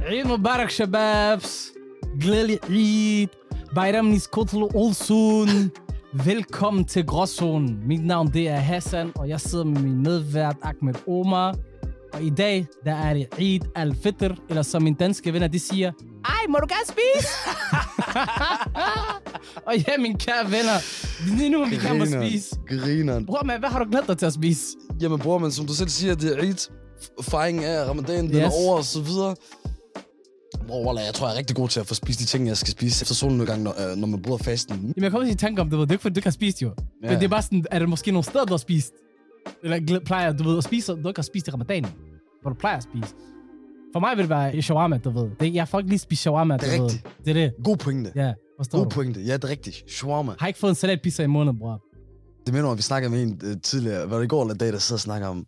عيد مبارك شبابs. Glædelig Eid. Bayram Niskotel Olsun. Velkommen til Gråzonen. Mit navn det er Hassan, og jeg sidder med min medvært Ahmed Omar. Og i dag, der er det Eid al-Fitr, eller som mine danske venner, de siger, Ej, må du gerne spise? og ja, mine kære venner, lige nu vi kan må spise. Grineren. Bror, man, hvad har du glædet dig til at spise? Jamen bror, men som du selv siger, det er Eid. Fejringen af ramadan, den Yes. er over og så videre. Bror, wallah, jeg tror, jeg er rigtig god til at få spist de ting, jeg skal spise efter solnedgang, når, øh, når man bryder fasten. Jamen, jeg kommer til i tanke om, det ved, det er ikke fordi, du ikke har spist, jo. Ja. Men det er bare sådan, er det måske nogle steder, du har spist? Eller gl- plejer du ved, at spise, du ikke har spist i ramadanen, hvor du plejer at spise. For mig vil det være i shawarma, du ved. Det, jeg får ikke lige spist shawarma, du Det ved. er rigtigt. Det er det. God pointe. Ja. Ja, forstår God du? pointe. Ja, det er rigtigt. Shawarma. Har ikke fået en salatpizza i måneden, bror. Det minder mig, om, vi snakkede med en øh, tidligere, var det i går eller i dag, der sidder og snakker om,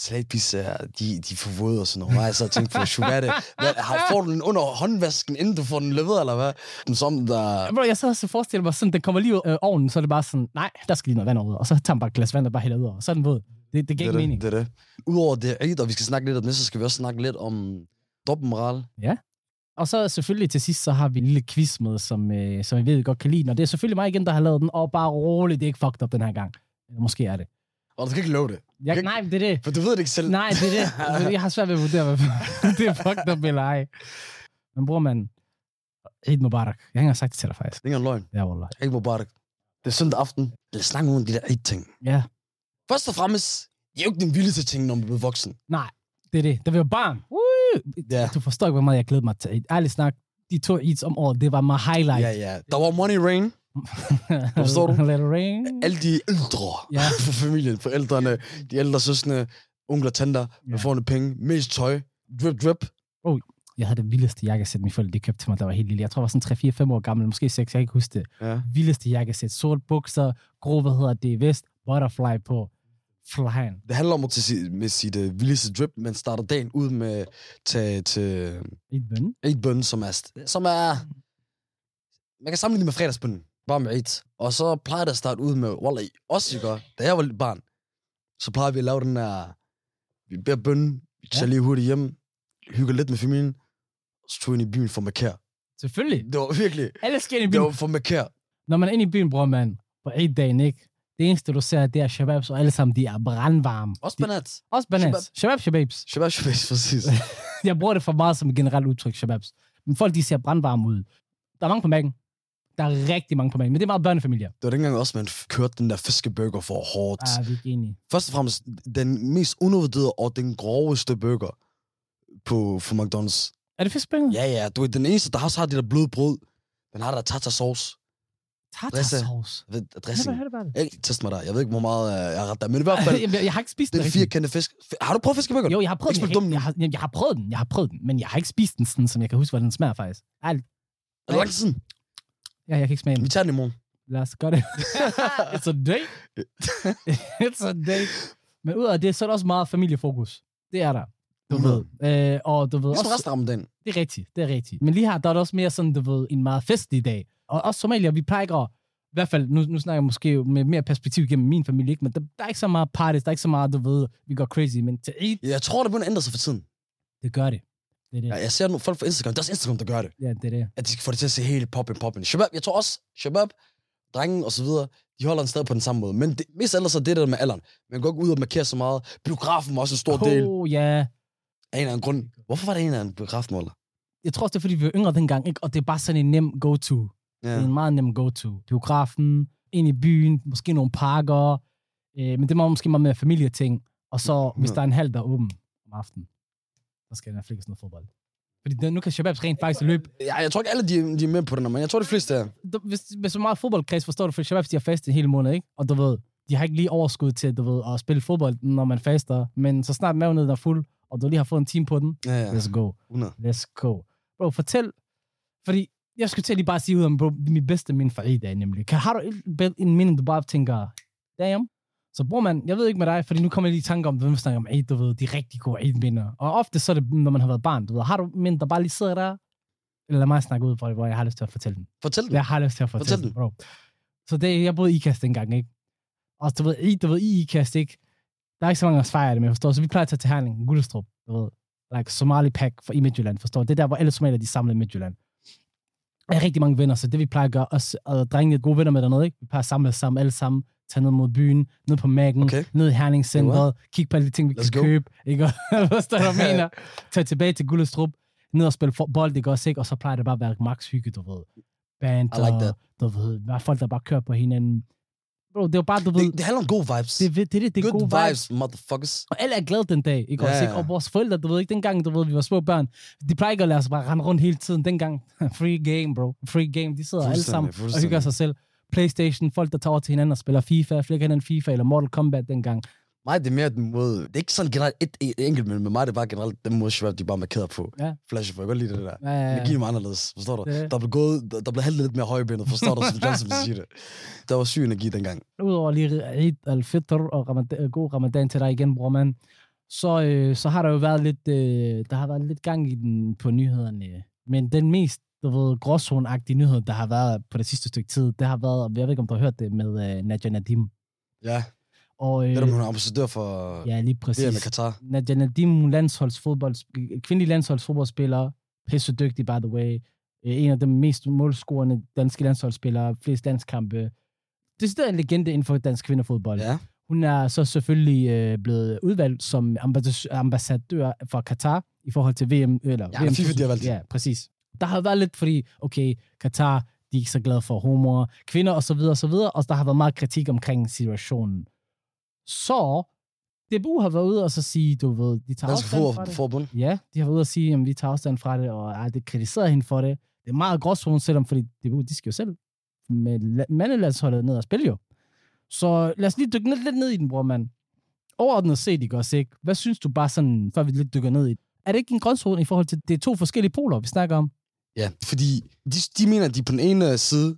salatpizzaer, de, de er for våde og sådan noget. Og jeg sad og tænkte på, Shubate, hvad, har, får du den under håndvasken, inden du får den leveret, eller hvad? Den som, der... Bro, jeg så også forestiller mig sådan, den kommer lige ud af ovnen, så er det bare sådan, nej, der skal lige noget vand over, og så tager man bare et glas vand og bare hælder ud over, og så er den våd. Det, det giver ikke det, er mening. Det, det er det. Udover det Eid, og vi skal snakke lidt om det, så skal vi også snakke lidt om dobbeltmoral. Og så selvfølgelig til sidst, så har vi en lille quiz med, som, øh, som jeg ved, I godt kan lide. Og det er selvfølgelig mig igen, der har lavet den. Og bare roligt, det er ikke fucked up den her gang. Eller måske er det. Og du kan ikke love det, Jeg, Ikke- nej, men det er det. for du ved det ikke selv. Nej, det er det. Jeg har svært ved at vurdere, hvad det er fucked up eller ej. Men bror, man. Eid Mubarak. Jeg har ikke engang sagt det til dig, faktisk. Det er ikke engang løgn. Ja, wallah. Ikke Mubarak. Det er søndag aften. Lad os snakke om nogle af de der Eid-ting. Ja. Først og fremmest, jeg er jo ikke den vilde til ting, når man bliver voksen. Det er det. Det var barn. Woo! Ja. Du forstår ikke, hvor meget jeg glæder mig til. Eid. Ærligt snak, de to Eids om året, det var my highlight. Ja, ja. Der var Money Rain. forstår du? Let it rain. Alle de ældre Ja. for familien, forældrene, de ældre søsne, onkler, tanter, Ja. ja. får penge, mest tøj, drip, drip. Jeg havde det vildeste jakkesæt, mine forældre de købte til mig, der var helt lille. Jeg tror, jeg var sådan 3-4-5 år gammel, måske 6, jeg kan ikke huske det. Ja. Vildeste jakkesæt, sort bukser, grå, hvad hedder det, vest, butterfly på. Flyen. Det handler om at til sit, med sit uh, vildeste drip, man starter dagen ud med at tage til Eid bøn. Eid bøn, som er, som er... Man kan sammenligne det med fredagsbønnen, bare med Eid. Og så plejer det at starte ud med, Wallah, også I gør, da jeg var lille barn, så plejer vi at lave den her, vi beder bønnen, vi tager lige hurtigt hjem, hygger lidt med familien, og så tog jeg ind i byen for makær. Selvfølgelig. Det var virkelig, Alle skal ind i det byen. var for makær. Når man er inde i byen, bror man, på et dagen ikke? Det eneste, du ser, det er shababs, og alle sammen, de er brandvarme. Også De- banat. Også bananas. Shabab. Shababs, shababs. Shabab shabab, præcis. Jeg bruger det for meget som et generelt udtryk, shababs. Men folk, de ser brandvarme ud. Der er mange på mærken. Der er rigtig mange på mærken, men det er meget børnefamilier. Det var dengang også, man f- kørte den der fiskeburger for hårdt. Ah, vi er ikke enige. Først og fremmest, den mest undervurderede og den groveste burger på, for McDonald's. Er det fiskbænget? Ja, ja, du er den eneste, der også har det der bløde brød. Den har der tartar sauce. Dresse. Tartarsauce. Jeg ved, Jeg dressing. har det bare det. Jeg kan ikke teste mig der. Jeg ved ikke, hvor meget øh, jeg har ret der. Men i hvert fald, Jamen, jeg- Jeg har ikke spist den den rigtigt. firkantede fisk. F- Har du prøvet fiskeburger? Jo, jeg har prøvet Ikke den. spil dum Jeg, nu. jeg, har, jamen, jeg har prøvet den, jeg har prøvet den, men jeg har ikke spist den sådan, som jeg kan huske, hvordan den smager faktisk. Ej, Er det lang tid siden? ja, jeg kan ikke smage den. Vi tager den i morgen. Lad os gøre det. It's a day. It's a day. Men ud af det, så er der også meget familiefokus. Det er der. Du ved. Øh, og du ved Ligesom også, resten af den. det er rigtigt, det er rigtigt. Men lige her, der er det også mere sådan, du ved, en meget festlig dag. Og også somalier, vi plejer ikke at, i hvert fald, nu, nu snakker jeg måske med mere perspektiv gennem min familie, ikke? men der, der, er ikke så meget parties, der er ikke så meget, du ved, vi går crazy, men til Eid, Jeg tror, det begynder at ændre sig for tiden. det gør det. Det er det. Ja, jeg ser nu folk på Instagram. Det er også Instagram, der gør det. Ja, det er det. At de skal få det til at se helt poppen, poppen. Shabab, jeg tror også, Shabab, drengen og så videre, de holder den stadig på den samme måde. Men det, mest ellers er det der med alderen. Man går ikke ud og markerer så meget. Biografen var også en stor oh. del Oh, ja. af en eller anden grund. Hvorfor var det en eller anden biografen, Ola? Jeg tror også, det er, fordi vi var yngre dengang, ikke? og det er bare sådan en nem go-to. Ja. Det er en meget nem go-to. Biografen, ind i byen, måske nogle parker, øh, men det var måske meget mere familieting. Og så, hvis Ja. der er en halv, der er åben om aftenen, så skal den flikkes noget fodbold. Fordi der, nu kan Shababs rent faktisk løbe. Ja, jeg tror ikke alle, de, de er med på den, her, men jeg tror, de fleste er. Du- Hvis, hvis så meget fodboldkreds forstår du, for Shababs de har fastet en hel måned, ikke? Og du ved, de har ikke lige overskud til du ved, at spille fodbold, når man faster. Men så snart maven er fuld, og du lige har fået en time på den, Ja, ja. let's go. 100. Let's go. Bro, fortæl. Fordi jeg skulle til at lige bare sige ud om, bro, det er mit bedste minde fra Ida, nemlig. Kan, har du et- bed- en minde, du bare tænker, damn? Så bror man, jeg ved ikke med dig, fordi nu kommer jeg lige i tanke om, hvem snakker om Eid, du ved, de rigtig gode Eid-minder. Og ofte så er det, når man har været barn, du ved, har du minde, der bare lige sidder der? Eller lad mig snakke ud for det, hvor jeg har lyst til at fortælle den. Fortæl den. Jeg har lyst til at fortælle, Fortæl den, bro. Så det, jeg boede i IKAST dengang, ikke? Og du ved, I, du ved, i IKAST, ikke? Der er ikke så mange, der fejrer det, men jeg forstår. Så vi plejer at tage til Herning, Gullestrup, du ved. like Somali pack for, i Midtjylland, forstår du? Det er der, hvor alle somalier, de er samlet i Midtjylland. Jeg har rigtig mange venner, så det vi plejer at gøre, os og drengene er gode venner med dernede, ikke? Vi plejer at samle os sammen, alle sammen, tage ned mod byen, ned på Mækken, Okay. ned i Herningscenteret, kigge på alle de ting, vi Let's kan go. købe, ikke? Forstår du, hvad jeg mener? Tage tilbage til Gullestrup, ned og spille for- bold, ikke også, ikke? Og så plejer det bare at være max hygge, du ved. Band, I like that. du ved, der er folk, der bare kører på hinanden. Bro, det er jo bare, du ved, Det, det handler om gode vibes. det, det, det, er det, det er Good gode vibes. vibes, motherfuckers. Og alle er glade den dag, ikke Ja, også? ja. Ikke? Og vores forældre, du ved ikke, dengang, du ved, vi var små børn, de plejer ikke at lade os bare rende rundt hele tiden. Dengang, free game, bro. Free game. De sidder alle Fuldstændig, sammen og hygger fuldstændig. sig selv. Playstation, folk, der tager over til hinanden og spiller FIFA, flækker hinanden FIFA eller Mortal Kombat dengang. Mig, det er mere den måde... Det er ikke sådan generelt et, et enkelt, men med mig, det er bare generelt den måde, shrap, de er bare markeret på. Ja. Flash, for jeg kan godt lide det der. Ja, ja, Energien var anderledes, forstår du? Det- Der blev, gået, der, der blev handlet lidt mere højbenet, forstår du, som Johnson vil sige det. Der var syg energi dengang. ja. Udover lige Eid al-Fitr og ramad- øh, god ramadan til dig igen, bror mand. Så, øh, så har der jo været lidt, øh, der har været lidt gang i den på nyhederne. Men den mest du ved, gråzone-agtige nyhed, der har været på det sidste stykke tid, det har været, jeg ved ikke, om du har hørt det, med øh, Nadia Nadim. Ja, Og, øh, det er da, hun er ambassadør for ja, Ja, lige præcis. det med Katar. Nadia Nadim, hun er landsholdsfodbold, kvindelig landsholdsfodboldspiller, pisse dygtig, by the way. Øh, En af de mest målscorende danske landsholdsspillere, flest landskampe. Det er en legende inden for dansk kvindefodbold. Ja, Hun er så selvfølgelig øh, blevet udvalgt som ambas- ambassadør for Katar i forhold til VM. Eller Ja, VM FIFA, de har valgt. Ja, præcis. Der har været lidt, fordi, okay, Katar, de er ikke så glade for homoer, kvinder osv. videre, og så videre, og der har været meget kritik omkring situationen. Så DBU har været ude og så sige, du ved, de tager Dansk afstand fra for, det. forbund. Ja, de har været ude og sige, at vi tager afstand fra det, og ej, det kritiserer hende for det. Det er meget gråzone, selvom fordi DBU, de skal jo selv med la- mandelandsholdet ned og spille jo. Så lad os lige dykke lidt, lidt ned i den, bror mand. Overordnet set, ikke også ikke? Hvad synes du bare sådan, før vi lidt dykker ned i det? Er det ikke en gråzone i forhold til, det er to forskellige poler, vi snakker om? Ja, fordi de, de mener, at de er på den ene side,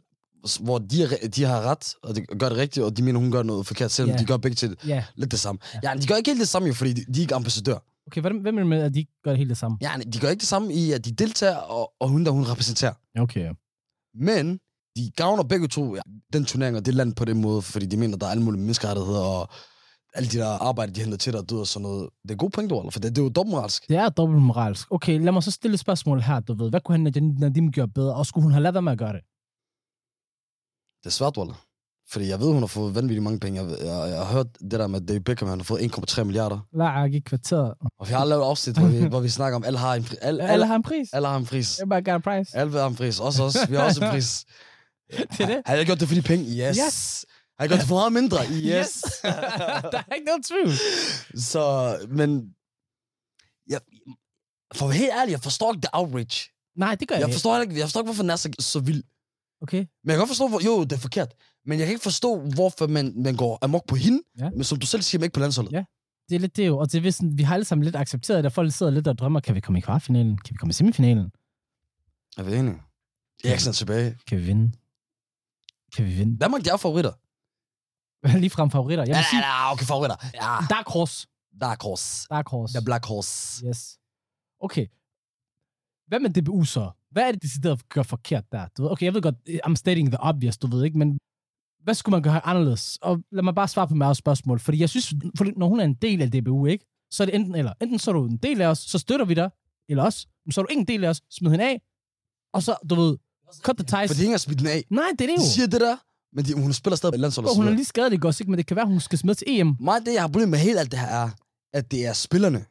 hvor de, er, re- de har ret, og de gør det rigtigt, og de mener, hun gør noget forkert, selvom Ja. yeah. de gør begge til Ja. lidt det samme. Ja, de gør ikke helt det samme jo, fordi de, de er ikke ambassadør. Okay, hvem, hvem er det med, at de ikke gør det hele det samme? Ja, de gør ikke det samme i, at de deltager, og, og hun der, hun repræsenterer. Okay. Men de gavner begge to ja, den turnering og det land på den måde, fordi de mener, der er alle mulige menneskerettigheder og alle de der arbejde, de henter til dig og død og sådan noget. Det er gode pointer, Orla, for det, det er jo dobbeltmoralsk. Det er dobbeltmoralsk. Okay, lad mig så stille et spørgsmål her, du ved. Hvad kunne han, Nadia Nadim gøre bedre, og skulle hun have lavet være med at gøre det? Det er svært, Orla. Fordi jeg ved, hun har fået vanvittigt mange penge. Jeg, ved- jeg, jeg har hørt det der med at David Beckham, han har fået 1,3 milliarder. Lad ikke kvarteret. Og vi har lavet et afsnit, hvor vi, hvor vi snakker om, alle har en, pri- alle, Alle alle, har en pris. alle har en pris. Everybody got a price. Alle har en pris. Også os. Vi har også en pris. Det er det. Har jeg gjort det for de penge? Yes. Yes. Har jeg gjort det for meget mindre? Yes. der er ikke noget tvivl. Så, men... Jeg, for at være helt ærlig, jeg forstår ikke det outrage. Nej, det gør jeg, Jeg forstår, heller ikke, jeg forstår ikke, hvorfor den er så, så vild. ikke. Okay. Men jeg kan godt forstå, hvor, jo, det er forkert. Men jeg kan ikke forstå, hvorfor man, man går amok på hende, Ja. ja. men som du selv siger, men ikke på landsholdet. Ja. Det er lidt det jo. Og det er vist sådan, vi har alle sammen lidt accepteret, at der folk sidder lidt og drømmer, kan vi komme i kvartfinalen? Kan vi komme i semifinalen? Jeg ved ikke. Eriksen er tilbage. Kan vi vinde? Kan vi vinde? Danmark, de er favoritter. Lige frem favoritter. Jeg Ja, vil sige, ja, okay, favoritter. Ja, Dark Horse. Dark Horse. Dark Horse. The Black Horse. Yes. Okay. Hvad med DBU så? Hvad er det, decideret gør forkert der? Du ved, okay, jeg ved godt, eh, I'm stating the obvious, du ved ikke, men hvad skulle man gøre anderledes? Og lad mig bare svare på mit eget spørgsmål, fordi jeg synes, fordi når hun er en del af DBU, ikke? så er det enten eller. Enten så er du en del af os, så støtter vi dig, eller også, så er du ikke en del af os, smid hende af, og så, du ved, cut the ties. For de har ikke engang smidt den af. Nej, det er det De jo. siger det der, men de, hun spiller stadig på landsholdet. Og og hun så er videre. lige skadet, ikke også, ikke? men det kan være, hun skal smides til E EM. Meget af det, jeg har problemer med helt alt det her, er, at det er spillerne,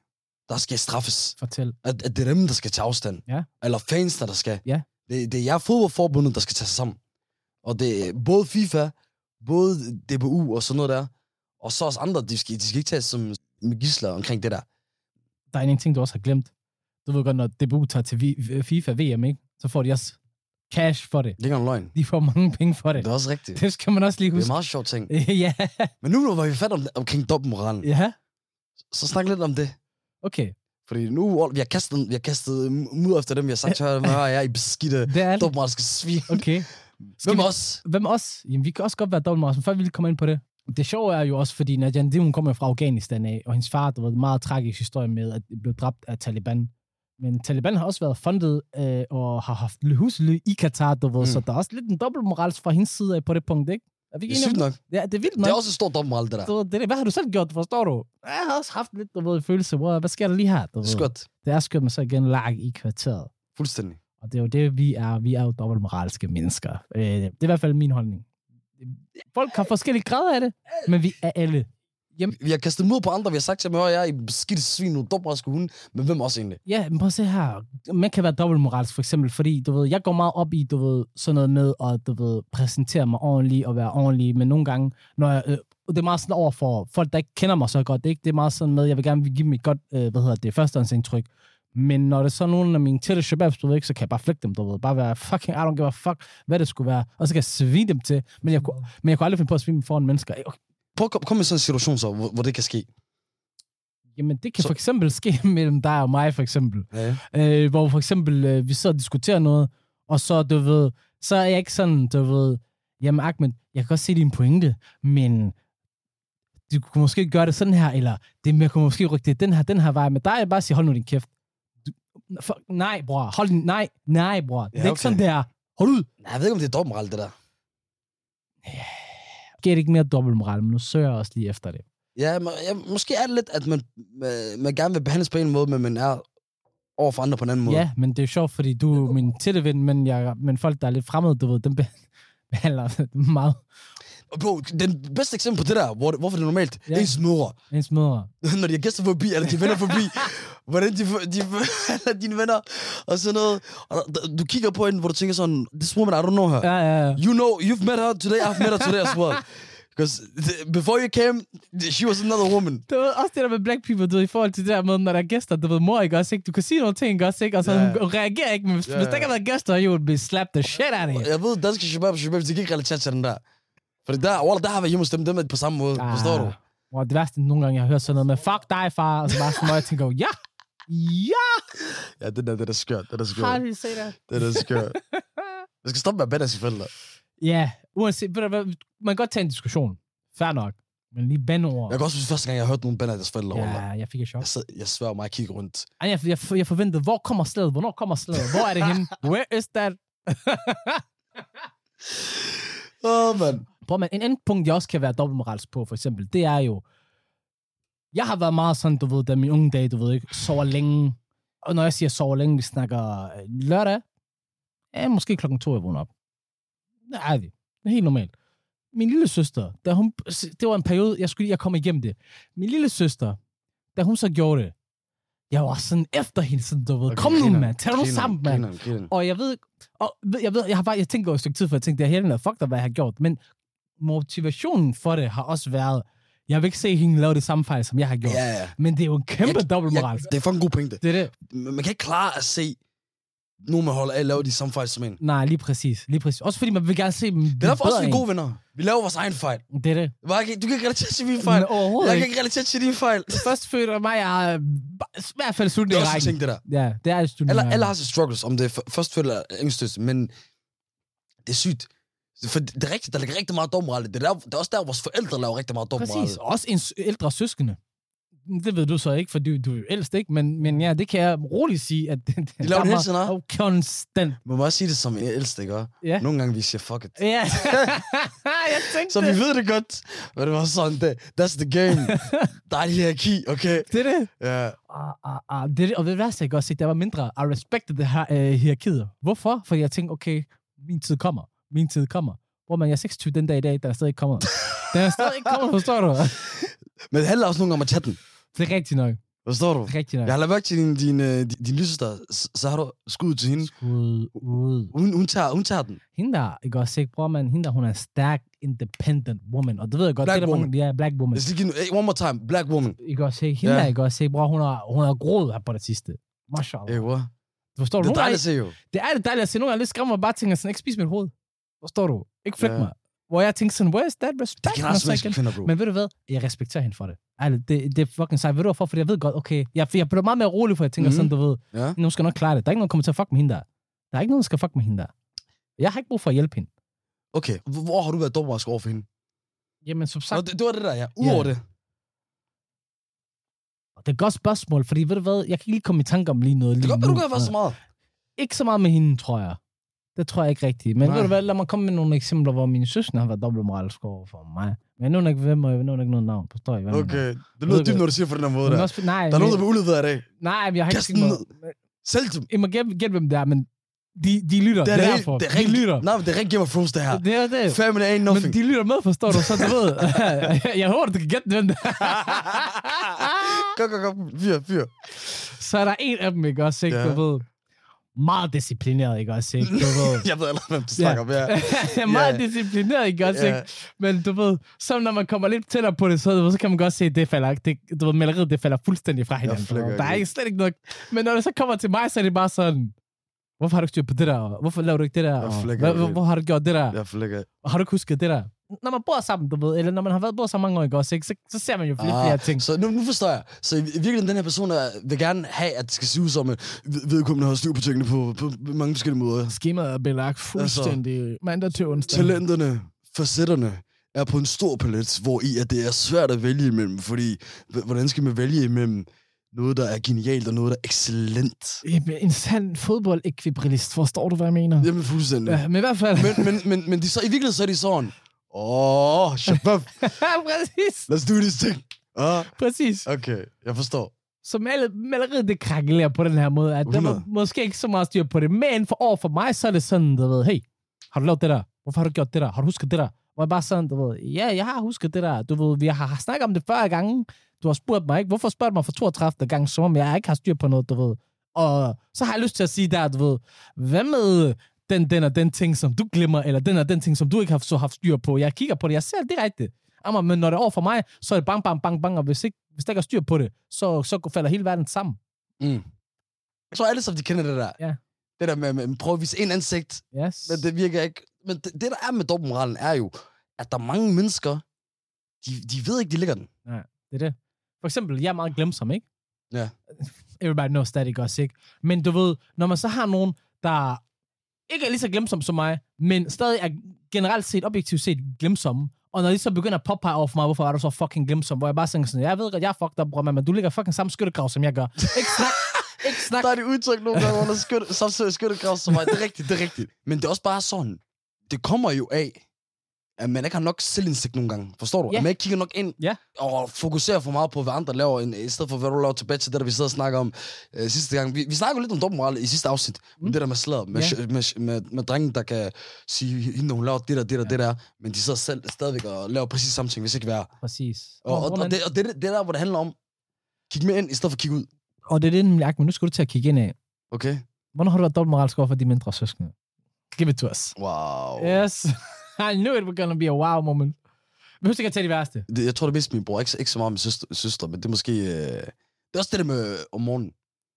der skal straffes. Fortæl. At, at det er dem, der skal tage afstand. Ja. Eller fansene, der skal. Ja. Det, det er jer fodboldforbundet, der skal tage sig sammen. Og det er både FIFA, både DBU og sådan noget der. Og så os andre, de skal, de skal ikke tages som med gisler omkring det der. der er en ting, du også har glemt. Du ved godt, når DBU tager til vi- øh, FIFA VM, ikke? så får de også cash for det. Det er ikke engang løgn. De får mange penge for det. Det er også rigtigt. Det skal man også lige Det er huske. en meget sjov ting. ja, Men nu hvor vi fat om, omkring dobbeltmoralen, ja, så snak lidt om det. okay. Fordi nu, vi har kastet, vi har kastet mudder efter dem, vi har sagt, hør, hør jeg er I beskidte Det er alt. dobbeltmoralske svin. Okay. Hvem vi- os? Hvem også? Jamen, vi kan også godt være dobbeltmoral, men før vi lige kommer ind på det. Det sjove er jo også, fordi Nadia Nadim, hun kommer jo fra Afghanistan af, og hendes far, der var en meget tragisk historie med, at blev dræbt af Taliban. Men Taliban har også været fundet øh, og har haft husly i Katar, du ved, mm. Mm. så der er også lidt en dobbeltmoral fra hendes side af på det punkt, ikke? Er vi Det ikke er enige om sygt nok. Ja, det er vildt Det nok. er også et stort dommer, alt det der. Du ved, det, er det. Hvad har du selv gjort, forstår du? Jeg har også haft lidt, du ved, følelse. Wow, hvad sker der lige her? Du ved? Skørt. Det er skørt, men så igen lag i kvarteret. Fuldstændig. Og det er jo det, vi er. Vi er jo dobbeltmoralske mennesker. Øh, Det er i hvert fald min holdning. Folk har forskellige grader af det, men vi er alle. Vi har kastet mod på andre, vi har sagt til dem, at jeg er i beskidt svin, nu dumraske hunde, men hvem også egentlig? Ja, men prøv at se her. Man kan være dobbeltmoralsk, for eksempel, fordi, du ved, jeg går meget op i, du ved, sådan noget med at, du ved, præsentere mig ordentligt og være ordentlig, men nogle gange, når jeg, øh, det er meget sådan over for folk, der ikke kender mig så godt, det er, ikke, det er meget sådan med, jeg vil gerne give dem et godt, øh, hvad hedder det, førstehåndsindtryk, men når det er så nogle af mine tætte shababs, du ved ikke, så kan jeg bare flække dem, du ved, bare være fucking, I don't give a fuck, hvad det skulle være, og så kan jeg svine dem til, men jeg kunne, men jeg kunne aldrig finde på at svine dem foran mennesker. Øh, Prøv at kom- kom med sådan en situation så, hvor, hvor det kan ske. Jamen, det kan Så- for eksempel ske mellem dig og mig, for eksempel. Ja, ja. øh, hvor for eksempel øh, vi sidder og diskuterer noget, og så, du ved, så er jeg ikke sådan, du ved, jamen Ahmed, jeg kan godt se din pointe, men du kunne måske gøre det sådan her, eller det, jeg kunne måske rykke det den her, den her vej, men der er jeg bare at sige, hold nu din kæft. Du, for, nej, bror, hold din, nej, nej, bror, det er Ja, ikke okay. sådan, det er. Hold ud. Nej, jeg ved ikke, om det er dobbeltmoral, det der. Giver det ikke mere dobbeltmoral, men nu søger jeg også lige efter det. Ja, må, ja, måske er det lidt, at man, øh, man gerne vil behandles på en måde, men man er over for andre på en anden måde. Ja, men det er sjovt, fordi du er min tætte ven, men, jeg, men folk, der er lidt fremmede, du ved, dem behandler meget Og Bro, den bedste eksempel på det der, hvor, hvorfor det er normalt, Ja. ja. ens mødre. ens mødre. når de har gæster forbi, eller de venner forbi, hvordan de, de eller dine venner, og sådan noget. Og der- du kigger på hende, hvor du tænker sådan, this woman, I don't know her. Ja, ja, ja. You know, you've met her today, I've met her today as well. Because before you came, she was another woman. Du ved, også det der med black people, du ved, i forhold til det der med, når der er gæster, du ved, mor ikke også, ikke? Du kan sige nogle ting, ikke også, ikke? Og så Ja. yeah. hun reagerer ikke, men hvis, Ja, yeah. hvis der ja. ikke har været gæster, you would be slapped the shit out of you. Jeg ved, danske shabab og shabab, de kan ikke relatere til den der. Fordi der, wallah, der har været hjemme hos dem, dem er på samme måde. Ah. Forstår du? Wow, det værste, nogle gange, jeg har hørt sådan noget med, fuck dig, far, og så bare sådan, hvor jeg tænker, ja, ja, Ja, det der, det er da skørt. Det er da har skørt. du set det? Det er da skørt. Vi skal stoppe med at bande af sine forældre. Ja, uanset, ved du hvad, man kan godt tage en diskussion, fair nok, men lige bandord. Jeg kan også huske første gang, jeg hørte nogen bande af deres forældre. Ja, wallah. jeg fik et chok. Jeg, sad, jeg sværger mig at kigge rundt. Ej, Jeg, jeg, jeg forventede, hvor kommer slaget? Hvornår kommer slaget? Hvor er det henne? Where is that? Åh, oh, mand. Prøv, men en anden punkt, jeg også kan være dobbeltmoralsk på, for eksempel, det er jo, jeg har været meget sådan, du ved, da min unge dage, du ved ikke, sover længe. Og når jeg siger sover længe, vi snakker øh, lørdag. Ja, måske klokken to, jeg vågner op. Det er det. Det er helt normalt. Min lille søster, da hun, det var en periode, jeg skulle lige, jeg kom igennem det. Min lille søster, da hun så gjorde det, jeg var sådan efter hende, sådan, du ved, okay, kom nu, mand, tag nu sammen, mand. Og jeg ved, og ved- jeg ved, jeg har bare, jeg tænkte over et stykke tid, for jeg tænkte, det er helt andet, fuck dig, hvad jeg har gjort. Men motivationen for det har også været, jeg vil ikke se hende lave det samme fejl, som jeg har gjort. Ja, ja. Men det er jo en kæmpe Jeg- dobbeltmoral. Det er for en god pointe. Det er det. Man man kan ikke klare at se nogen, man holder af, lave de samme fejl som en. Nej, lige præcis. Lige præcis. Også fordi man vil gerne se dem. Det er derfor også, vi er gode venner. Vi laver vores egen fejl. Det er det. Hvor jeg kan- Du kan ikke relatere til mine fejl. Men overhovedet Jeg kan ikke. ikke relatere til dine fejl. Først fødte mig, jeg er i hvert fald Det slutningen af er også en rækken. ting, det der. Ja, det er et slutningen Alle, af alle rækken. har sine struggles, om det er f- først føler eller yngstøst, men det er sygt. For det er rigtigt, der ligger rigtig meget dommoral. i Det, Det er, der, det er også der, vores forældre laver rigtig meget dommoral. Præcis. Også en s- ældre søskende. Det ved du så ikke, for du, du er jo ældst, ikke? Men, men ja, det kan jeg roligt sige, at det, det De laver det hele tiden, hva'? og konstant. Man må også sige det som en ældste, ikke? Ja. Nogle gange vi siger, fuck it. Ja, jeg tænkte Så vi ved det godt. Men det var sådan, det, that's the game. Der er et hierarki, okay? det. er det. Ja. Ah, ah, ah. det, er det. Og det værste, jeg kan også se, der var mindre. I respected det her øh, hierarkiet. Hvorfor? Fordi jeg tænkte, okay, min tid kommer. Min tid kommer. Hvor man, jeg er 26 den dag i dag, der er stadig ikke kommet. Den er stadig ikke kommet, forstår du? Men det handler også nogle gange om at tage den. Det er rigtigt nok. Forstår du? Det er rigtigt nok. Jeg har lagt mærke til din, din, øh, din, din lysester, så har du skud til hende. Skud ud. Hun, hun, tager, hun tager den. Hende der, ikke også ikke, bror man, hende der, hun er en stærk, independent woman. Og det ved jeg godt, Black det er der woman. mange, ja, black woman. Let's lige hey, one more time. Black woman. Ikke også ikke, hende Ja. der, ikke også ikke, bror, hun har, hun har groet her på det sidste. Mashallah. Hey, what? Forstår du? Det er Nogle gange- dejligt at se, jo. Det er det dejligt at se. Nogle gange lidt skræmmer bare tænker sådan, ikke spis mit hoved. Forstår du? Ikke flæk Ja. mig. Hvor jeg tænker sådan, where is that Det respect? kan Nå, også så menneske igen. kvinder, bro. Men ved du hvad? Jeg respekterer hende for det. Ærligt, det, det er fucking sejt. Ved du hvorfor? Fordi jeg ved godt, okay. Jeg, jeg bliver meget mere rolig, for jeg tænker Mhm. mm. sådan, du ved, Ja. nu skal jeg nok klare det. Der er ikke nogen, der kommer til at fuck med hende der. Der er ikke nogen, der skal fuck med hende der. Jeg har ikke brug for at hjælpe hende. Okay, hvor- hvor har du været dommersk over for hende? Jamen, som Nå, sagt, det, det, var det der, ja. Udover Ja. det. det er et godt spørgsmål, fordi ved du hvad, jeg kan ikke lige komme i tanke om lige noget. Det lige kan godt være, nu. du kan have været så meget. Ikke så meget med hende, tror jeg. Det tror jeg ikke rigtigt. Men Nej. ved du hvad, lad mig komme med nogle eksempler, hvor mine søsne har været dobbeltmoralsk over for mig. Men jeg nævner ikke hvem, og jeg nævner ikke noget navn. Forstår I, hvad jeg mener? Okay, det lyder Ved dybt, du- når du siger på den her måde Men der. også, nej, Der er nogen, der men, bliver uledet af dag. nej, men jeg har ikke Kast tænkt den mig... Selv dem. I må gætte, gætte, hvem det er, men de, de lytter. Det er, det helt- derfor. det er de rigtig, lytter. nej, men det er rigtig Game of Thrones, det her. Det er det. Family ain't nothing. Men de lytter med, forstår du, så du ved. jeg håber, du kan gætte, hvem det er. Kom, kom, kom. Fyr, fyr. Så er der en af dem, ikke også, ikke? Ja. Du ved. Meget disciplineret, ikke også, ikke? Du ved. Jeg ved allerede, hvem du snakker om. Ja. meget Ja. disciplineret, ikke også, Ja. ikke? Men du ved, så når man kommer lidt tættere på det, så, du ved, så kan man godt se, at det falder, det, du ved, maleriet, det falder fuldstændig fra hinanden. flækker du ved. Der er ikke. ikke slet ikke noget. Men når det så kommer til mig, så er det bare sådan, hvorfor har du ikke styr på det der? Og Hvorfor laver du ikke det der? Jeg Og flækker Hvor, ikke. hvor, hvor har du gjort det der? Jeg flækker. Og Har du ikke husket det der? Når man bor sammen, du ved, eller når man har været bor sammen mange år, ikke også, ikke? Så, så ser man jo flere, ah, flere ting. Så nu, nu forstår jeg. Så i i virkeligheden, den her person der vil gerne have, at det skal se ud som, at ved- vedkommende har styr på tingene på, på mange forskellige måder. Skemaet er belagt Altså, fuldstændig mandag til onsdag. Talenterne, facetterne er på en stor palet, hvor i at det er svært at vælge imellem, fordi h- hvordan skal man vælge imellem noget, der er genialt og noget, der er excellent? Jamen, En sand fodboldekvibrillist, forstår du, hvad jeg mener? Jamen fuldstændig. Ja, men i hvert fald... Men, men, men, men de så, i virkeligheden så er de sådan, åh, oh, shabab, ja, præcis. let's do this thing. Ah, Præcis. okay, jeg forstår. Så mal- maleriet, det krakelerer på den her måde, at der var 100. måske ikke så meget styr på det, men for over for mig, så er det sådan, du ved, hey, har du lavet det der? Hvorfor har du gjort det der? Har du husket det der? Hvor jeg bare sådan, du ved, ja, jeg har husket det der. Du ved, vi har snakket om det 40 gange. Du har spurgt mig, ikke? Hvorfor spørger du mig for 32 gange, som om jeg ikke har styr på noget, du ved? Og så har jeg lyst til at sige der, du ved, hvad med den, den og den ting, som du glemmer, eller den og den ting, som du ikke har så haft styr på. Jeg kigger på det, jeg ser det direkte. Amma, men når det er over for mig, så er det bang, bang, bang, bang, og hvis, ikke, hvis der ikke er styr på det, så, så falder hele verden sammen. Mm. Jeg tror alle sammen, de kender det der. Ja. Det der med, med at prøve at vise en ansigt, Yes. men det virker ikke. Men det, det der er med dobbeltmoralen, er jo, at der er mange mennesker, de, de ved ikke, de ligger den. Det er det. For eksempel, jeg er meget glemsom, ikke? Ja. Everybody knows that, ikke også, ikke? Men du ved, når man så har nogen, der ikke er lige så glemsom som mig, men stadig er generelt set, objektivt set, glemsomme, og når de så begynder at påpege over for mig, hvorfor er du så fucking glemsom, hvor jeg bare tænker sådan, jeg ved godt, jeg er fucked up, bror, mand, men du ligger fucking samme skyttegrav, som jeg gør. Ikke snak, ikke snak. Der er det udtryk nogle gange under skytte, samtidig skyttegrav som mig. Det er rigtigt, det er rigtigt. Men det er også bare sådan, det kommer jo af, at man ikke har nok selvindsigt nogle gange. Forstår du? Ja. At man ikke kigger nok ind Ja. og fokuserer for meget på, hvad andre laver, end, i stedet for, hvad du laver tilbage til det, der vi sidder og snakker om øh, sidste gang. Vi, vi snakker jo lidt om dobbeltmoral i sidste afsnit. Mm. Mm. Det der med sladder, med, Ja. yeah. med, med, med drengen, der kan sige, hende hun laver det der, det der, ja. det der. Men de sidder selv stadigvæk og laver præcis samme ting, hvis ikke værre. Præcis. Og, og, bror, og, mand. det, og det, det er der, hvor det handler om, kig med ind, i stedet for at kigge ud. og det er det, nemlig, Ahmed, nu skal du til at kigge ind af. Okay? Hvornår har du været dobbeltmoralsk over for de mindre søskende? Give it to us. Wow. Yes. I knew it was gonna be a wow moment. Men husk ikke at tage de værste. Det, jeg tror, det er mest min bror. Ikke, ikke så meget med søster, søster men det er måske... Øh, det er også det der med øh, om morgenen.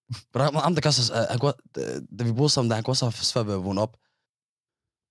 Men der er ham, der kan også... Han, han kunne, da, da vi boede sammen, der, han kunne også have haft svært ved at vågne op.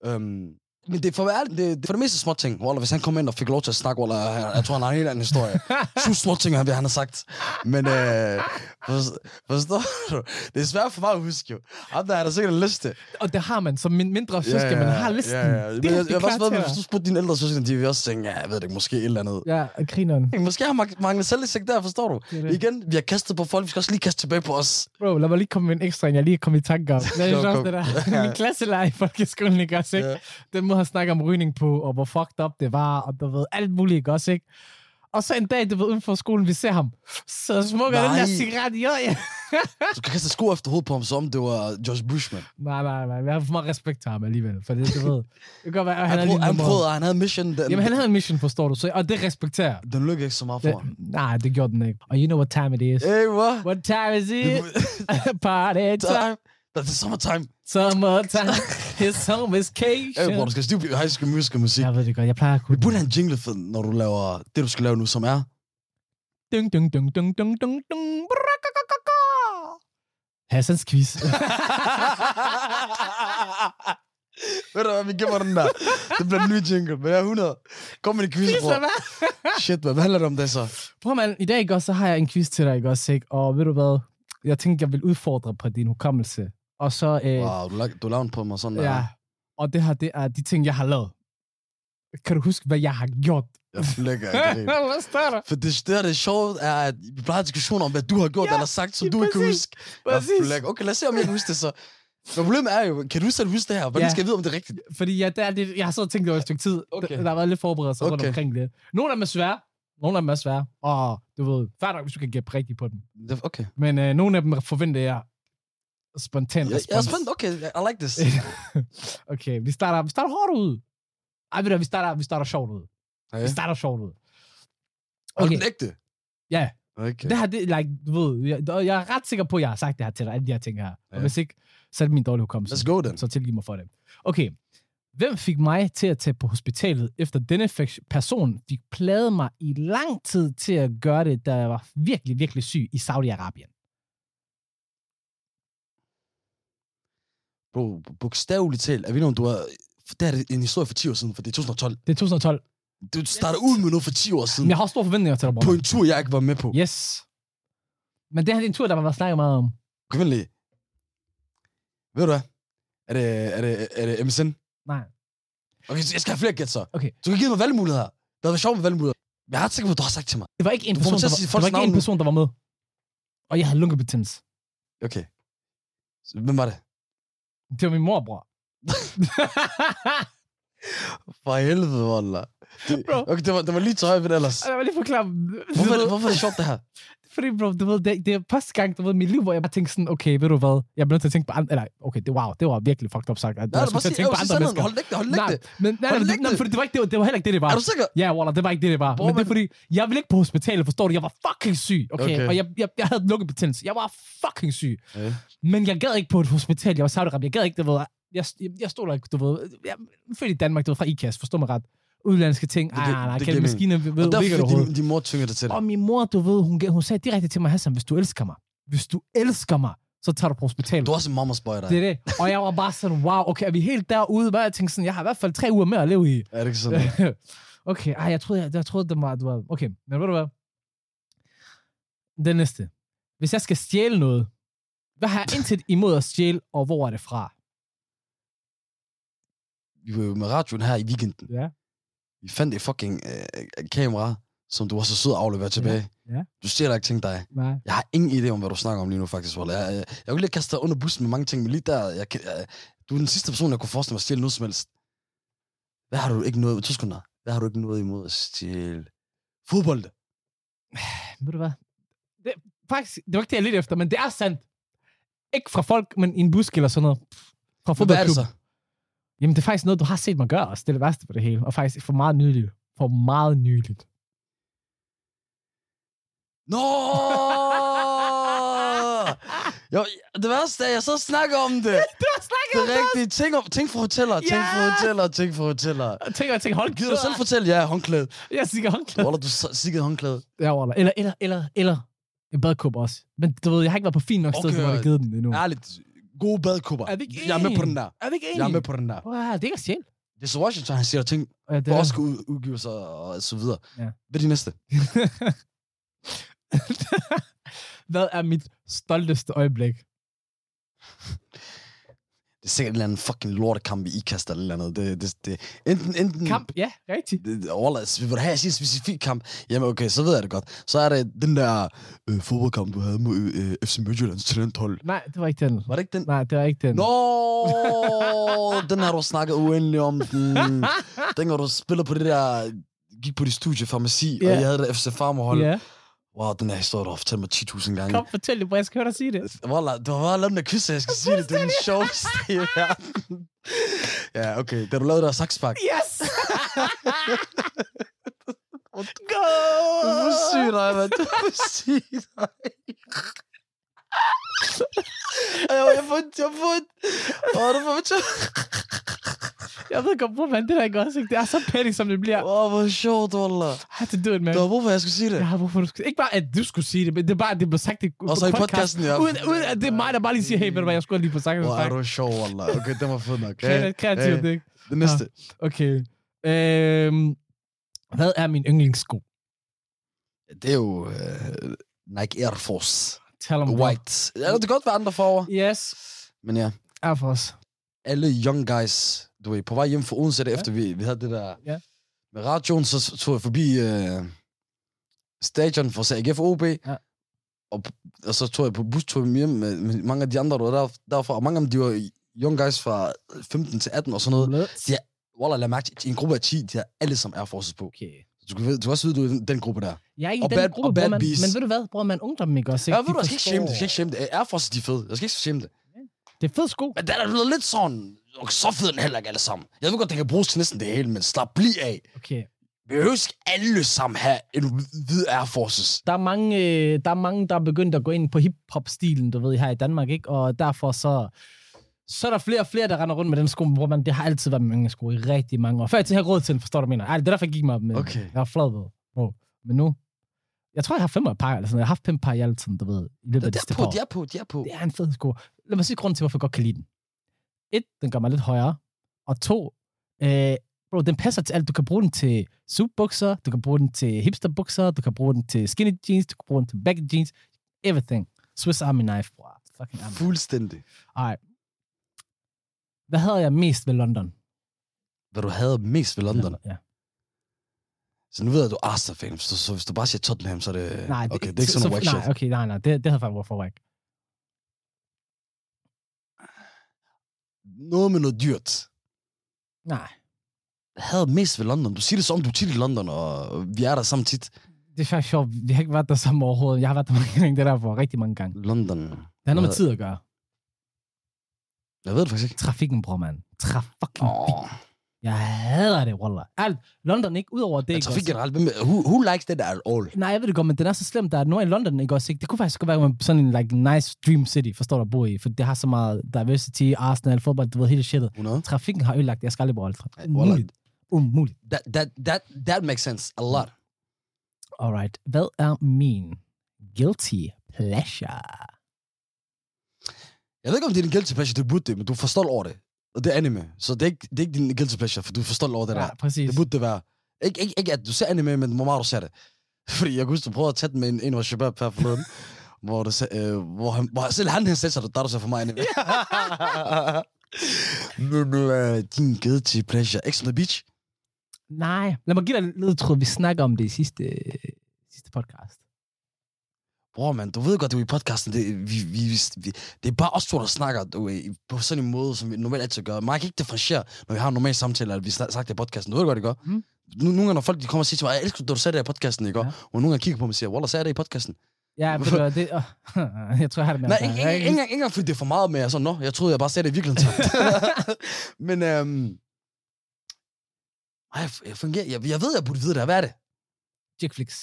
Øhm, men det er for, at være ærlig, det, det er for det meste små ting. Wallah, hvis han kom ind og fik lov til at snakke, Wallah, jeg, jeg tror, han har en helt anden historie. Tusind små ting, han, han har sagt. Men øh, forstår, forstår du? Det er svært for mig at huske, jo. Ham, der har der sikkert en liste. Og det har man som min mindre søskende, yeah, man har listen. Ja, ja. Men Det er jeg, jeg, har også klart været med, til hvis du spurgte dine ældre søskende, de vil også tænke, ja, jeg ved det ikke, måske et eller andet. Ja, og grineren. Måske har man manglet selvindsigt der, forstår du? Det er det. Igen, vi har kastet på folk, vi skal også lige kaste tilbage på os. Bro, lad mig lige komme med en ekstra, end jeg lige kom i tanke om. Det er Kom, også kom. det der. Ja. Min klasselærer i folkeskolen, ikke også, ikke? Ja. Den måde, han snakker om rygning på, og hvor fucked up det var, og du ved, alt muligt, ikke også, ikke? Og så en dag, du ved, uden for skolen, vi ser ham. Så smukker den der Nej. cigaret i øjet. Du kan kaste sko efter hovedet på ham, som om det var Josh Bushman. Nej, nej, nej. Jeg har for meget respekt til ham alligevel. For det, du ved. Det kan godt være, at han, Han, er han, lige prøvede, han nummeret. prøvede, og han havde mission. Den, Jamen, han havde en mission, forstår du. Så, og det respekterer jeg. den lykkedes ikke så meget for ham. Det- Nej, det gjorde den ikke. Og you know what time it is. Hey, what? What time is it? Det- Party time. Time. Det er summertime. Summertime. His Hey, bror, summercation. du skal stive high school musical musik. Jeg ved det godt. Jeg plejer at Vi kunne... burde have en jingle for, når du laver det, du skal lave nu, som er... Dung, dung, dung, dung, dung, dung, dung. Brakakakaka. Hassans quiz. Ved du hvad, vi gemmer den der. Det bliver en ny jingle, men jeg er 100. Kom med en quiz, bror. Shit, hvad handler det om det så? Prøv man, i dag ikke også, så har jeg en quiz til dig, ikke også, ikke? Og ved du hvad? Jeg tænkte, jeg vil udfordre på din hukommelse. Og så... Øh, Wow, du, lag- du lavede den på mig sådan der. Ja. Og det her, det er de ting, jeg har lavet. Kan du huske, hvad jeg har gjort? Jeg flækker ikke. Hvad står der? For det, det, der er det sjove, er, at vi plejer diskussioner om, hvad du har gjort Ja, ja, eller sagt, som ja, du ikke kan præcis, huske. Jeg Præcis. flækker. Okay, lad os se, om jeg kan huske det så. Men problemet er jo, kan du selv huske det her? Hvordan Ja. skal jeg vide, om det er rigtigt? Fordi ja, der, er det, jeg har så tænkt over et stykke tid. Okay. Okay. Der, der har været lidt forberedelser okay. rundt Okay. omkring det. Nogle af dem er svære. Nogle af dem er svære. Og du ved, færdig nok, hvis du kan gætte rigtigt på dem. Det- Okay. Men øh, nogle af dem forventer jeg spontan Jeg, respons. jeg er spændt. Okay, I like this. okay, vi starter, vi starter hårdt ud. Ej, ved du, hvad, vi starter, vi starter sjovt ud. Okay. Vi starter sjovt ud. Og Okay, den ægte? Ja. Okay. det her, det, like, du ved, jeg, og jeg er ret sikker på, at jeg har sagt det her til dig, alle de her ting her. Og Ja. hvis ikke, så er det min dårlige hukommelse. Let's go then. så tilgiv mig for det. Okay. Hvem fik mig til at tage på hospitalet, efter denne fe- person fik plaget mig i lang tid til at gøre det, da jeg var virkelig, virkelig syg i Saudi-Arabien? Bro, bogstaveligt talt, er vi nogen, du har... Det her er en historie for 10 år siden, for det er 2012. Det er 2012. Du starter ud med noget for 10 år siden. Men jeg har også store forventninger til dig, På bror. en tur, jeg ikke var med på. Yes. Men det her det er en tur, der har været snakket meget om. Kom ind lige. Ved du hvad? Er det, er det, er det MSN? Nej. Okay, så jeg skal have flere gæt så. Okay. Du kan give mig valgmuligheder. Det havde været sjovt med valgmuligheder. Men jeg er ret sikker på, at du har sagt til mig. Det var ikke en Du får person, der mig til at var, sige det folks var ikke navn en nu. person, der var med. Og jeg havde lunkebetændelse. Okay. Så Hvem var det? Det var min mor, bror. For helvede, Walla. Det- Bro. Okay, det var, det var lige til højre ved det ellers. Og jeg vil lige forklare. Hvorfor, er det- hvorfor er det sjovt, det her? Fordi, bro, du ved, det, det er første gang, du ved, i mit liv, hvor jeg bare tænkte sådan, okay, ved du hvad, jeg bliver nødt til at tænke på andre, eller okay, det, wow, det var virkelig fucked up sagt, at Nej, jeg du skulle bare til at sige, tænke på "Øv, sig andre sandheden. mennesker. Hold læg det, hold læg nej, det. men, nej, Hold nej, læk nej, det. fordi det var ikke det, det var heller ikke det, det var. Er du sikker? Ja, Waller, det var ikke det, det var. Bror, men det men- er fordi, jeg ville ikke på hospitalet, forstår du? Jeg var fucking syg, okay? Okay. okay. Og jeg, jeg, jeg havde lukkebetændelse. Jeg var fucking syg. Ja. Men jeg gad ikke på et hospital. Jeg var i Saudi-Arabien. Jeg gad ikke, du ved. Jeg, jeg, jeg stod der ikke, du ved. Jeg er født i Danmark, du ved, fra IKAS, forstår mig ret. Udlandske ting. Det gi- Nej, nej, nej. det Kan giver maskiner ved, Og ved derfor ikke fik overhovedet. din, din mor tvinger dig til det. Og min mor, du ved, hun, hun sagde direkte til mig, Hassan, hvis du elsker mig, hvis du elsker mig, så tager du på hospitalet. Du er også en mamas boy, dig. Det er det. Og jeg var bare sådan, wow, okay, er vi helt derude? Hvad? Jeg tænkte sådan, jeg har i hvert fald tre uger mere at leve i. Er det ikke sådan? okay, ej, jeg troede, jeg, jeg troede, det var, du var... Okay, men ved du hvad? Den næste. Hvis jeg skal stjæle noget, hvad har jeg intet imod at stjæle, og hvor er det fra? Vi var jo med radioen her i weekenden. Ja. Vi fandt et fucking øh, kamera, som du var så sød at aflevere tilbage. Ja. Du ser da ikke ting dig. Nej. Jeg har ingen idé om, hvad du snakker om lige nu, faktisk. Walla. Jeg, jeg, jeg vil lige kaste dig under bussen med mange ting, men lige der... Jeg, kan- jeg, du er den sidste person, jeg kunne forestille mig at stjæle noget som helst. Hvad har du ikke noget... To sekunder. Hvad har du ikke noget imod at stjæle? Fodbold. Ved du hvad? Det, faktisk, det var ikke det, jeg lidt efter, men det er sandt. Ikke fra folk, men i en busk eller sådan noget. Fra Hvad er fodboldklub. det så? Jamen, det er faktisk noget, du har set mig gøre også. Det er det værste på det hele. Og faktisk for meget nyligt. For meget nyligt. Nå! jo, det værste er, at jeg så snakker om det. Du har snakket Det er rigtigt. Ting, om, ting for hoteller, ting for Ja! hoteller, ting for hoteller. Jeg tænker, jeg tænker, hold Gider du selv fortælle? Ja, håndklæde. Jeg siger håndklæde. Waller, du s- sikkede håndklæde. Ja, Waller. Eller, eller, eller, eller en badkub også. Men du ved, jeg har ikke været på fint nok sted, Okay. okay. hvor jeg har givet den endnu. Ærligt. Gode badkubber. Er vi ikke Jeg er med på den enige? der. Er vi ikke Jeg er med på den der. Wow, det er ikke sjæl. Det er så Washington, han siger ting, Ja, det for er også skal ud- udgive sig og så videre. Ja. Hvad er de næste? Hvad er mit stolteste øjeblik? Det er sikkert en eller anden fucking lortekamp i IKAST eller et eller andet. Det, det, det, enten, enten, Kamp? Ja, rigtigt. det- det- Wallace, vil du have, at jeg siger en specifik kamp? Jamen okay, så ved jeg det godt. Så er det den der øh, fodboldkamp, du havde mod øh, FC Midtjyllands talenthold. Nej, det var ikke den. Var det ikke den? Nej, det var ikke den. Nå, den har du snakket uendelig om. Den, den har du spillet på det der, gik på dit studie farmaci, yeah. Ja. og jeg havde det FC Farmerhold. Yeah. Ja, Wow, den her historie, du har fortalt mig 10.000 gange. kom, fortæl det, hvor jeg skal høre dig sige det. Wallah, du har bare lavet den der kysse, jeg skal sige det. Det er den sjoveste i verden. Ja, okay. Da du lavede der sakspark. Yes! Go! Ah. Du er for syg dig, mand. Du er for syg dig. Ej, Jeg har fået, jeg har fået. Åh, du får mig Jeg ved godt, hvor man det der ikke også. ikke? Det er så petty, som det bliver. Åh, hvor sjovt, Wallah. I had to do it, man. Du har brug for, at jeg skulle sige det. Jeg har hvorfor du skulle... Ikke bare, at du skulle sige det, men det er bare, at det blev sagt i Og så i podcasten, ja. Uden, uden, at det er mig, der bare lige siger, hey, ved du hvad, jeg skulle lige få sagt det. øh, Hvor er Wow, du sjov, Wallah. Okay, den var fed nok. Ja, Kreativt, ja. hey. ikke? Det næste. Okay. Øhm, hvad er min yndlingssko? Det er jo øh, Nike Air Force. Tell om White. Ja, det kan godt være andre farver. Yes. Men ja. Air Force. alle young guys, du ved, på vej hjem fra Odense, ja. efter vi, vi havde det der Ja. med radioen, så s- tog jeg forbi øh, stadion for AGF OB, ja. og, og så tog jeg på bustur hjem med, med mange af de andre, der var der, derfra. Og mange af dem, de var young guys fra 15 til 18 og sådan noget. Let's- Ja. Wallah, lad mærke, til, i en gruppe af 10, de har alle sammen Air Forces på. Okay. Så du, kan, vide- du kan også vide, du er i den- den gruppe der. Jeg er ikke Og i den bad- gruppe, og bad bror, man, bees. men ved du hvad, bror, man ungdom ikke også? Ja, Ikke? ved De du, jeg skal ikke shame det, jeg skal ikke forstår. shame det. Air Forces, de er fede. Jeg skal ikke shame det. Det er fed sko. Men den er blevet lidt sådan, og så fed er den heller ikke alle sammen. Jeg ved godt, den kan bruges til næsten det hele, men slap bliv af. Okay. Vi ønsker alle sammen have en hvid Air Forces. der er mange, øh, der er mange, der er begyndt at gå ind på hip-hop-stilen, du ved, her i Danmark, ikke? Og derfor så, så er der flere og flere, der render rundt med den sko, hvor man, det har altid været min yndlingssko i rigtig mange år. Før jeg til har råd til den, forstår du, hvad jeg mener. Ej, det er derfor, jeg gik mig op med. den. Okay. Jeg var flad ved. Bro. Men nu, jeg tror, jeg har fem par, eller sådan noget. Jeg har haft fem par i alt sådan, du ved, i løbet af det De er sidste på, par år. de er på, de er på. Det er en fed sko. Lad mig sige grunden til, hvorfor jeg godt kan lide den. Et, den gør mig lidt højere. Og to, øh, bro, den passer til alt. Du kan bruge den til suitbukser, du kan bruge den til hipsterbukser, du kan bruge den til skinny jeans, du kan bruge den til baggy jeans. Everything. Swiss Army knife, bro. Fucking army. Fuldstændig. Ej. Hvad havde jeg mest ved London? Hvad du havde mest ved London. Ja. Så nu ved jeg, at du er Arsenal-fan, så, så hvis du bare siger Tottenham, så er det... Nej, okay, det er ikke sådan noget whack shit. Nej, okay, nej, nej. Det, det havde faktisk været for whack. Noget med noget dyrt. Nej, Hvad havde mest ved London? Du siger det som, om du er tit i London, og vi er der sammen tit. det er faktisk sjovt. Vi har ikke været der sammen overhovedet. Jeg har været der mange gange, det der for rigtig mange gange. London. Det har noget med Hvad- tid at gøre. Jeg ved det faktisk ikke. Trafikken, bror, mand. Trafikken. Åh. Jeg hader det, Wallah. Alt. London ikke, udover det. Men ikke trafik også? generelt, hvem- who, who likes that at all? Nej, jeg ved det godt, men den er så slem, der er nord i London, ikke også? Ikke? Det kunne faktisk godt være sådan en like, nice dream city, forstår du, at bo i, for det har så meget diversity, Arsenal, fodbold, du ved, hele shitet. 100? Trafikken har ødelagt, det. jeg skal aldrig bruge alt. Ej, Umuligt. Umuligt. That, that, that, that makes sense a lot. Alright. Hvad er min guilty pleasure? Jeg ved ikke, om det er din guilty pleasure, du burde det, men du forstår over det. Og det er anime, så det er ikke, det er ikke din guilty pleasure, for du forstår over det ja. der. præcis. Det burde det være. Ikke, ikke, ikke at du ser anime, men hvor meget du ser det. Fordi jeg kunne huske, du prøvede at tage den med en, en af vores shabab her forleden, hvor, du, sag- øh, hvor, han, hvor selv han her selv sagde, der er du ser for mig anime. men øh, din guilty pleasure, Ex on the Beach. Nej. Lad mig give dig en ledtråd. Vi snakker om det i sidste, sidste podcast. Bror, man, du ved godt, du er i podcasten. Det, vi, vi, vi, det er bare os to, der snakker du, ved, på sådan en måde, som vi normalt altid gør. Man kan ikke differentiere, når vi har en normal samtale, eller vi snak- sagt det i podcasten. Du ved godt, det gør. Mm. Mm. Nu, nogle gange, når folk de kommer og siger til mig, jeg elsker, da du sagde det i podcasten, ikke? Ja. Ja. Og nogle gange kigger på mig og siger, Wallah, sagde jeg det i podcasten? Ja, ved du hvad, det... åh, jeg tror, jeg har det med Nej, dig. ikke, ikke, ikke, engang- ikke, engang, fordi det er for meget med, jeg er sådan, nå, jeg troede, jeg bare sagde det i virkeligheden. Men, øhm, ej, jeg, jeg, fungerer, jeg, jeg ved, jeg burde vide det. her. Hvad er det? Chick flicks.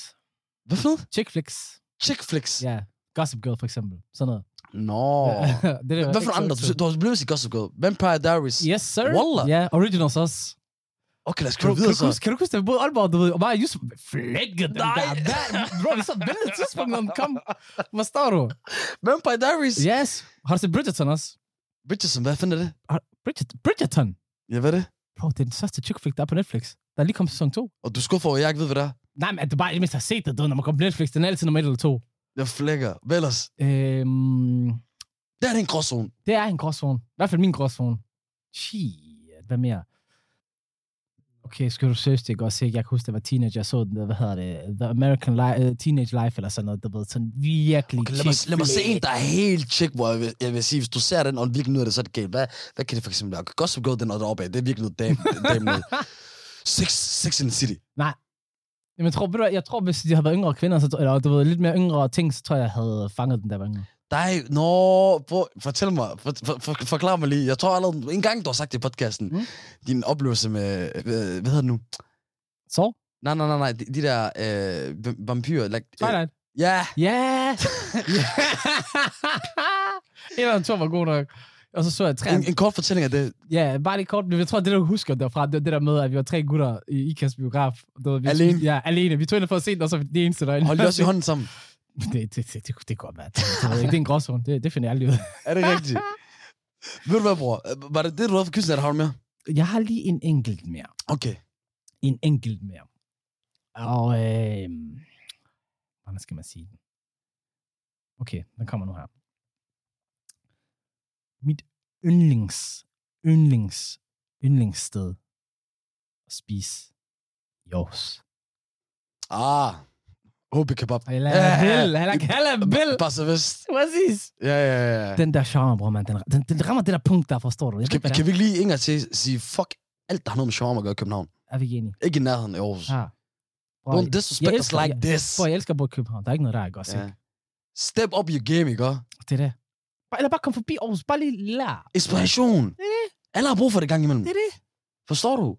Hvad for noget? Chick flicks. Chick flicks. Ja. Ja, Gossip Girl for eksempel. Sådan noget. Nå. det er Hvad for andre? Du, du har blevet sige Gossip Girl. Vampire Diaries. Yes, sir. Wallah. Ja, Originals også. Okay, lad os Bro, køre kan, videre du så. huske, kan du huske, at vi boede i Aalborg, du ved, og mig og Yusuf flækkede den Nej. der. Hvad? Bro, vi så vældet tidspunkt, når den kom. Hvad står du? Vampire Diaries. Yeah. Yes. Har du set Bridgerton også? Richardson, hvad fanden er det? Har, Bridget, Bridgerton? Ja, hvad er det? Bro, det er den største chick flick, der er på Netflix. Der er lige kommet sæson 2. Og du skuffer over, at jeg ikke ved, hvad det er. Nej, men at du bare i det mindste har set det, du ved, når man kommer på Netflix. Den er altid nummer 1 eller 2. Jeg flækker. Hvad ellers? Øhm, Der er det en gråzone. det er en gråzone. I hvert fald min gråzone. Shit, hvad mere? Okay, skal du seriøst ikke også ikke? Jeg kan huske, da jeg var teenager, jeg så den der, hvad hedder det, The American Life, uh, Teenage Life, eller sådan noget, du ved, sådan virkelig Okay, lad, mig, lad mig se en, chick-flick. der er helt tjek, hvor jeg vil, jeg vil sige, hvis du ser den, og virkelig nyder det, så er det galt. Hvad, hvad kan det for eksempel være? Okay, Gossip Girl, den er deroppe af. Det er virkelig noget dame, dame noget. Sex, sex in the City. Jamen, jeg tror, ved du, hvad, jeg tror, hvis de havde været yngre kvinder, så, tror- eller du ved, lidt mere yngre ting, så tror jeg, jeg havde fanget den der var yngre. Nej, nå, prøv, fortæl mig, for, for, for, forklar mig lige. Jeg tror allerede, en gang du har sagt det i podcasten, Mm. mm. din oplevelse med, øh, hvad hedder det nu? Så? Nej, nej, nej, nej, de, de der øh, v- vampyrer. Like, øh, Twilight. ja, Ja! Ja. en eller anden tur var god nok. Og så så jeg tre. en, en kort fortælling af det. Ja, bare lige kort. men Jeg tror, det der du husker derfra, det var det der med, at vi var tre gutter i Ikas biograf. Du ved, vi, Alene? Ja, alene. Vi tog ind for at se den, og så var vi de eneste derinde. Hold de også i hånden sammen. det, det, det, det, det går mand. Det, ved jeg ikke. det er en gråzone. Det, det finder jeg aldrig ud af. Er det rigtigt? Ved du hvad, bror? Øh, Var det det, du havde for kysten, at har du mere? Jeg har lige en enkelt mere. Okay. en enkelt mere. Og, øh, hvordan skal man sige den? Okay, den kommer nu her. Mit yndlings, yndlings, yndlingssted at spise i Aarhus. Ah, HB kebab. Eller Ja, ja, ja. Bill, eller Bill. Bare vest. Præcis. Ja, ja, ja. ja. Den der genre, bror, man. Den, den, den rammer det der punkt der, forstår du? Jeg ved Kan, ikke, hvad kan det vi ikke lige en gang til sige, fuck alt, der har noget med shawarma at gøre i København. er. Er vi enige? Ikke i nærheden i Aarhus. Ah. Bror, Don't disrespect jeg us elsker- like this. bror, jeg elsker at bo i København. Der er ikke noget, der er godt. Ja. Ja. Step up your game, ikke? Det er det. Bare- Eller bare kom forbi Aarhus. Bare lige lær. Inspiration. Det er det. Alle har brug for det gang imellem. Det er det. Forstår du?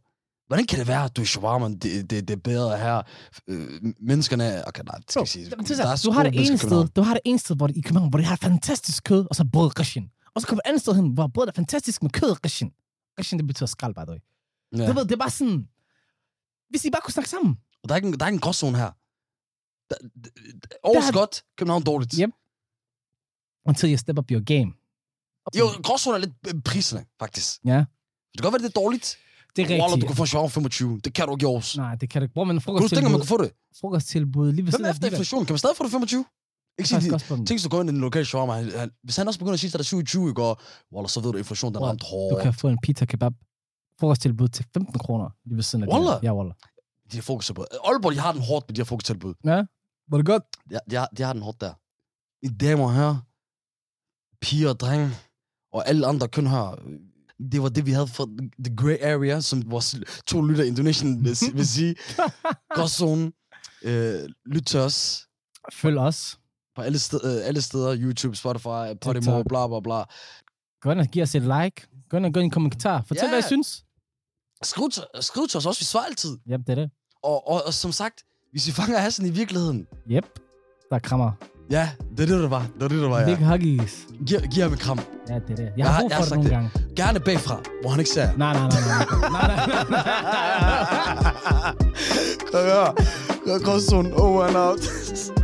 Hvordan kan det være, at du i shawarma, det, det, det er bedre her? Øh, menneskerne... Okay, nej, det skal Bro, jeg sige. det- men det er Der er så- så du har gode det mennesker ene i sted, København. du har det ene sted hvor det, i København, hvor det har fantastisk kød, og så brød rishin. Og så kommer et andet sted hen, hvor brødet er fantastisk med kød og rishin. Rishin, det betyder skrald, by the way. Ja. Du ved, det er bare sådan... Hvis I bare kunne snakke sammen. Og der er ikke, en- der er ikke en gråzone her. Der, d- d- Aarhus Der- godt, København dårligt. Yep. Until you step up your game. Jo, gråzone er lidt øh, priserne, faktisk. Ja. Det kan godt være, det er dårligt. Det er Waller, rigtigt. du kan få en shawarma 25. Det kan du ikke i Aarhus. Nej, det kan du ikke. Bror, men Kunne du tænke, frokosttilbud, at man kunne få det? frokosttilbud lige ved Hvem siden er efter inflationen? Kan man stadig få det 25? Ikke sige, de- inflation? tænk, hvis du går ind i den lokale shawarma. han- han- Hvis han også begynder at sige, at der er 27 i går, Waller, så ved du, at inflationen den Bro, ramt Du hårdt. kan få en pizza kebab frokosttilbud til 15 kroner lige ved siden af Wallah. det. Ja, Waller. De har fokustilbud. Aalborg, de har den hårdt med de her fokustilbud. Var det godt? De, har- de, har, de har den hårdt der. I damer her, piger og drenge, og alle andre køn her, det var det, vi havde for The Grey Area, som vores to lytter i Indonesien vil, si- vil sige. Gråzonen. Øh, lyt til os Følg os. på alle, sted, øh, alle steder. YouTube, Spotify, Podimo, TikTok. bla bla bla. Gå ind og giv os et like. Gå ind og gå ind i en kommentar. Fortæl, Ja. hvad I synes. Skriv til, skriv til os også, vi svarer altid. Yep, det er det. Og, og, og som sagt, hvis vi fanger Hassan i virkeligheden, Yep. Der krammer. ja, det er det, der var. Det er det, der var, Ja. ja. Big huggies. Giv, giv ham et kram. Ja, det er det. Jeg har Jeg- brug jeg for har det sagt nogle det. gange. Gerne bagfra, hvor han ikke ser jer. Nej, nej, nej, nej. nej, nej, nej, nej, nej. Kom her. Kom, Gråzonen, over and out.